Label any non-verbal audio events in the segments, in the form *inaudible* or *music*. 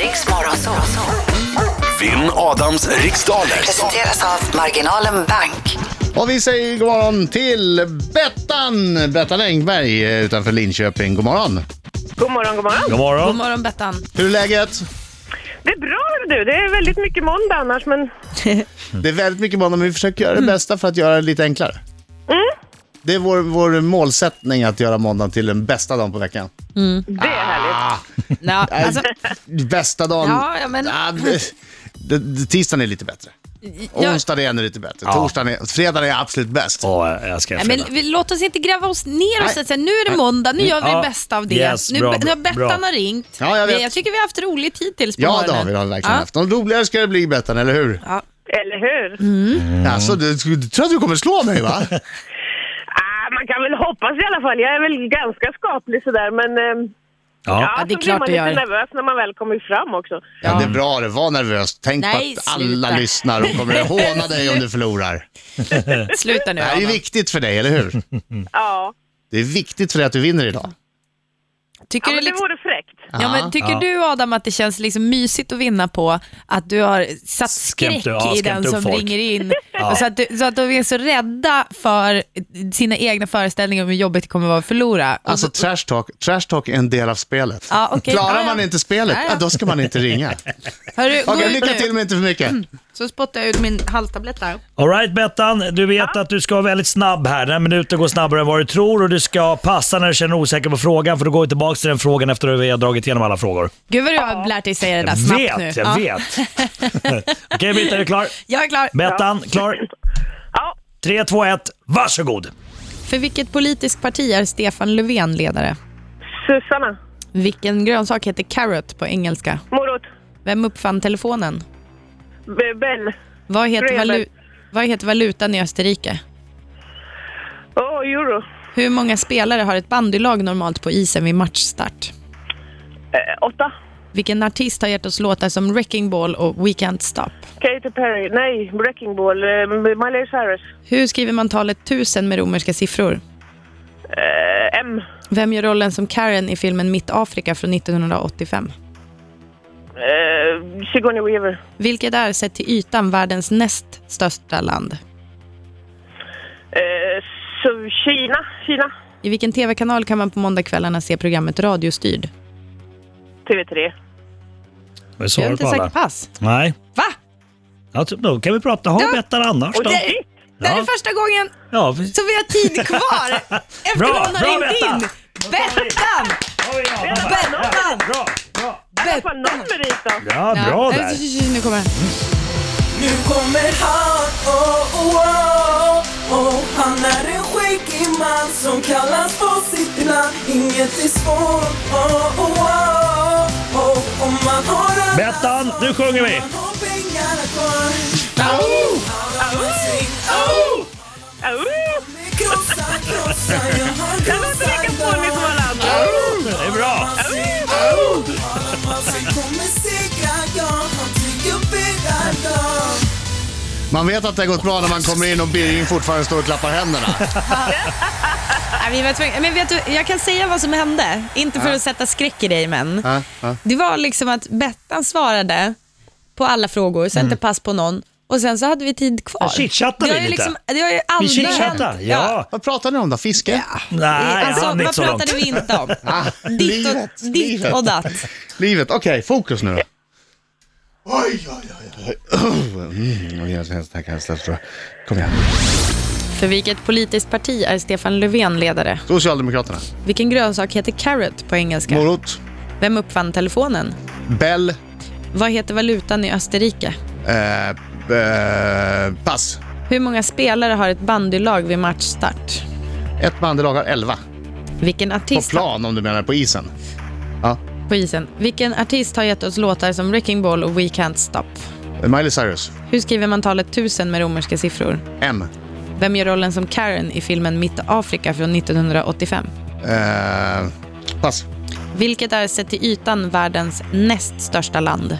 Riks Morgonzoo. Vinn Adams riksdaler. Presenteras av Marginalen Bank. Och vi säger god morgon till Bettan, Bettan Engberg eh, utanför Linköping. God morgon! God morgon, god morgon. God God morgon. morgon Bettan. Hur är läget? Det är bra du, det är väldigt mycket måndag annars men Det är väldigt mycket måndag, men vi försöker göra det Mm. bästa för att göra det lite enklare. Det är vår, vår målsättning att göra måndagen till den bästa dagen på veckan. Äh, det Ah. är härligt. Nå, alltså, Bästa dagen... Ja, ja, men- Ah, det- det- det- tisdagen är lite bättre. jag, Onsdagen är ännu lite bättre. Torsdagen är, fredagen är absolut bäst. Åh, jag älskar nej, fredag. men vi, låt oss inte gräva oss ner och säga så här, nu är det måndag, nu gör vi det Ja. bästa av det. Yes, nu, bra, nu har bra. Bettan har ringt. Ja, jag vet. Vi- jag tycker vi har haft roligt hittills på Ja, det morgonen. har vi, det har vi verkligen Ja. haft. Någon roligare ska det bli, Bettan, eller hur? Eller hur? Mm. Alltså, du, du tror att du kommer slå mig, va? Ah, man kan väl hoppas i alla fall. Jag är väl ganska skaplig sådär men eh, Ja. det är så blir klart man du lite gör. nervös när man väl kommer fram också. Ja, det är bra det. Var nervös. Tänk Nej, på att alla sluta. lyssnar och kommer *laughs* att håna dig om du förlorar. Sluta nu Det här är ju Adam. viktigt för dig, eller hur? Ja, Det är viktigt för dig att du vinner idag. Tycker ja du men det liksom, vore fräckt. ja, men tycker du Adam att det känns liksom mysigt att vinna på att du har satt Skrämt- skräck ja, i skrämt den som upp folk. ringer in? *laughs* Och så, att du, så att de är så rädda för sina egna föreställningar om hur jobbigt det kommer att vara att förlora. Och Alltså så- trash talk, trash talk är en del av spelet. Ja, okej. Ja, Klarar ja. man inte spelet, Ja, ja. ja, då ska man inte *laughs* ringa. hörru, gå Okej, ut lycka nu. Mm. till men inte för mycket. Så spottar jag ut min halstablett där. All right Bettan, du vet att du ska vara väldigt snabb här. Den här minuten går snabbare än vad du tror och du ska passa när du känner dig osäker på frågan för då går vi tillbaka till den frågan efter att vi har dragit igenom alla frågor. Gud vad du har lärt dig säga det där Jag snabbt nu. vet, jag Ja. vet. Okej Britta, är du klar? Jag är klar. Bettan, klar? Ja, 3, 2, 1, varsågod! För vilket politiskt parti är Stefan Löfven ledare? Susanna, Vilken grönsak heter carrot på engelska? morot, Vem uppfann telefonen? B- Ben. Vad heter, Rödbär. valu- vad heter valutan i Österrike? Åh, euro. Hur många spelare har ett bandylag normalt på isen vid matchstart? Eh, åtta. Vilken artist har gett oss låtar som Wrecking Ball och We Can't Stop? Katy Perry. Nej, Wrecking Ball. Eh, Miley Cyrus. Hur skriver man talet 1000 med romerska siffror? Eh, M. Vem gör rollen som Karen i filmen Mitt Afrika från 1985? Eh, Sigourney Weaver. Vilket är sett till ytan världens näst största land? Eh, så Kina. Kina. I vilken tv-kanal kan man på måndagskvällarna se programmet Radiostyrd? TV3. Har du Jag har svarat inte på alla? sagt pass. Nej. Va? Ja, typ, då kan vi prata. Ha Bettan annars Och då. det, Det här är Ja, första gången ja, vi- så vi har tid kvar efter *laughs* Bra, hon har bra, ringt Bettan. in. Bettan! Oj, ja, ja, Bettan! Bra, bra. Fan, någon merit då. Ja, bra eh, Ja, där. Nu kommer den. Nu kommer han, oh, oh, oh, oh. Han är en skäggig man som kallas på sitt namn Inget är svårt, oh, oh, oh, oh. Om man har alla Bettan, nu sjunger vi. man har pengarna kvar Alla säger, Au! Krossa, krossa, jag har Jag vill inte lika fånig som alla andra. Det är bra. Man vet att det har gått bra när man kommer in och Birging fortfarande står och klappar händerna. Nej, vi var tvungna. Men vet du, jag kan säga vad som hände, inte för att sätta skräck i dig men. Ja, ja. Det var liksom att Bettan svarade på alla frågor, sen inte pass på någon och sen så hade vi tid kvar. Mm. Ja, chitchattade Det har vi ju lite. Liksom, det har ju Vi aldrig chitchattar. Ja. Vad pratar ni om då? Fiske? Eh, Nej, Alltså, han är vad inte Ah, så långt. pratade vi inte om? Ah, Ditt och, livet, ditt och datt. Livet, okej, fokus nu då. Oj, oj, oj, oj. Mm, och jag känner så här kan jag ställa tror jag. Kom igen. För vilket politiskt parti är Stefan Löfven ledare? Socialdemokraterna. Vilken grönsak heter carrot på engelska? Morot. Vem uppfann telefonen? Bell. Vad heter valutan i Österrike? Eh, eh, pass. Hur många spelare har ett bandylag vid matchstart? Ett bandelag har elva. Vilken På artist, plan om du menar på isen. på isen. Vilken artist har gett oss låtar som Wrecking Ball och We Can't Stop? Miley Cyrus. Hur skriver man talet 1000 med romerska siffror? M. Vem gör rollen som Karen i filmen Mitt Afrika från 1985? Eh, pass. Vilket är sett till ytan världens näst största land?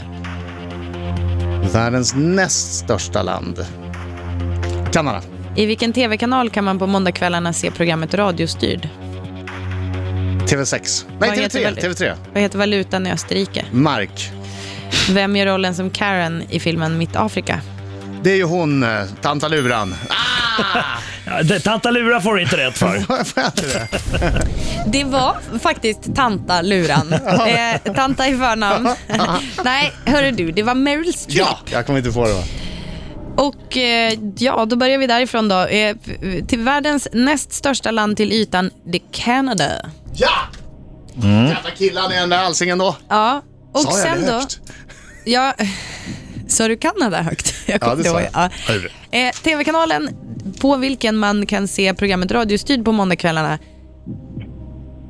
Världens näst största land. Kanada. I vilken tv-kanal kan man på måndagskvällarna se programmet Radiostyrd? TV6. Vad Nej, heter TV3. väl- TV3. Vad heter valutan i Österrike? Mark. Vem gör rollen som Karen i filmen Mitt Afrika? Det är ju hon, eh, tantaluran. Ja, det- Tanta Lura får du inte *laughs* rätt för. Ah, får jag inte det? Det var faktiskt Tanta *laughs* Luran. Eh, tanta i *laughs* förnamn. Nej, hörru du, det var Meryl Streep. Ja, jag kommer inte få det va? Och eh, ja, då börjar vi därifrån då. Eh, p- Till världens näst största land till ytan, det är Canada. Ja! Jävla killarna i den där halsingen då. Ja, och Sa jag sen det då... högt? Ja, sa du Kanada högt? *laughs* Jag kommer Ja, det inte sa ihåg. jag. Ja. Hörru. Eh, TV-kanalen på vilken man kan se programmet Radiostyrd på måndagskvällarna.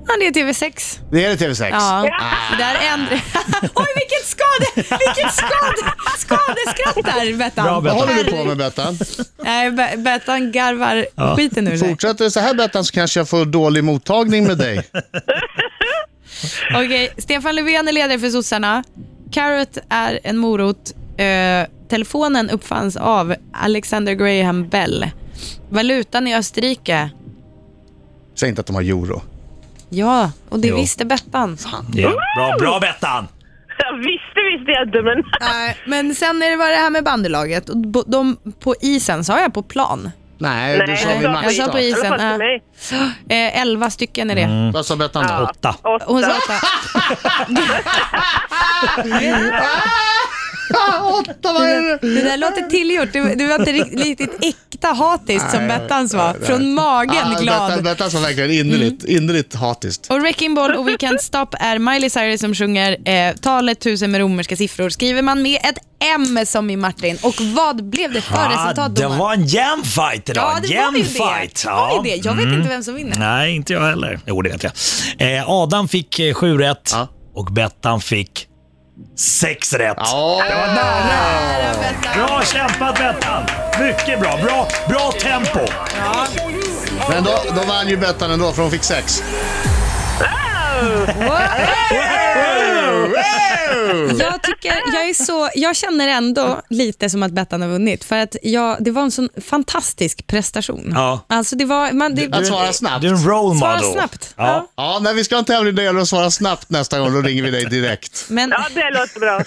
Ja, det är TV6. Det är det TV6. Ja. Där ändrar... *laughs* Oj, vilket skade... Vilket skade... Skadeskratt där, Bettan. Bra, Vad Bettan. håller du på med *laughs* Bettan? Nej, Be- Bettan garvar Ja. skiten ur sig. Fortsätter det så här Bettan så kanske jag får dålig mottagning med *laughs* dig. Okej, Stefan Löfven är ledare för sossarna. Carrot är en morot. Eh, telefonen uppfanns av Alexander Graham Bell. Valutan i Österrike. Säg inte att de har euro. Ja, och det Jo. visste Bettan. Ja. Bra, bra Bettan! Jag visste, visste jag inte, men... Nej, Eh, men sen är det bara det här med bandelaget. Och bo- De på isen, sa jag på plan? Nej, du sa jag vid sa på Jag sa på matchstart. I alla isen. fall till mig. Eh, elva stycken är det. Vad sa Bettan då? Åtta. Åtta. Hon sa åtta. Ah, åtta, vad är det? Det där låter tillgjort. Det, det var inte rikt- riktigt äkta hatiskt som Nej, Bettans var. nej, nej. Från magen Ah, glad. Mm. Bettan, Bettan var verkligen innerligt, innerligt hatiskt. Och Wrecking Ball och We Can't Stop är Miley Cyrus som sjunger eh, talet tusen med romerska siffror. Skriver man med ett M som i Martin. Och vad blev det för Ah, resultat det domaren? var en jämn fight idag. Ja, det var jämn ju det. fight. Det var ju Ja. Mm. det. Jag vet inte vem som vinner. Nej, inte jag heller. Jo, det vet jag. Eh, Adam fick eh, sju rätt Ja. och Bettan fick sex rätt. Ja, Bra kämpat Bettan! Mycket bra. Bra, bra tempo. men då, då vann ju Bettan ändå för hon fick sex. Mm. Jag, tycker, jag, är så, jag känner ändå lite som att Bettan har vunnit. För att jag, det var en sån fantastisk prestation. Ja. Alltså det var... Man, det, Att svara snabbt. Du är en role Svara model. snabbt. Ja. Ja, när vi ska ha en tävling där det gäller att svara snabbt nästa gång, då ringer vi dig direkt. Men Ja, det låter bra.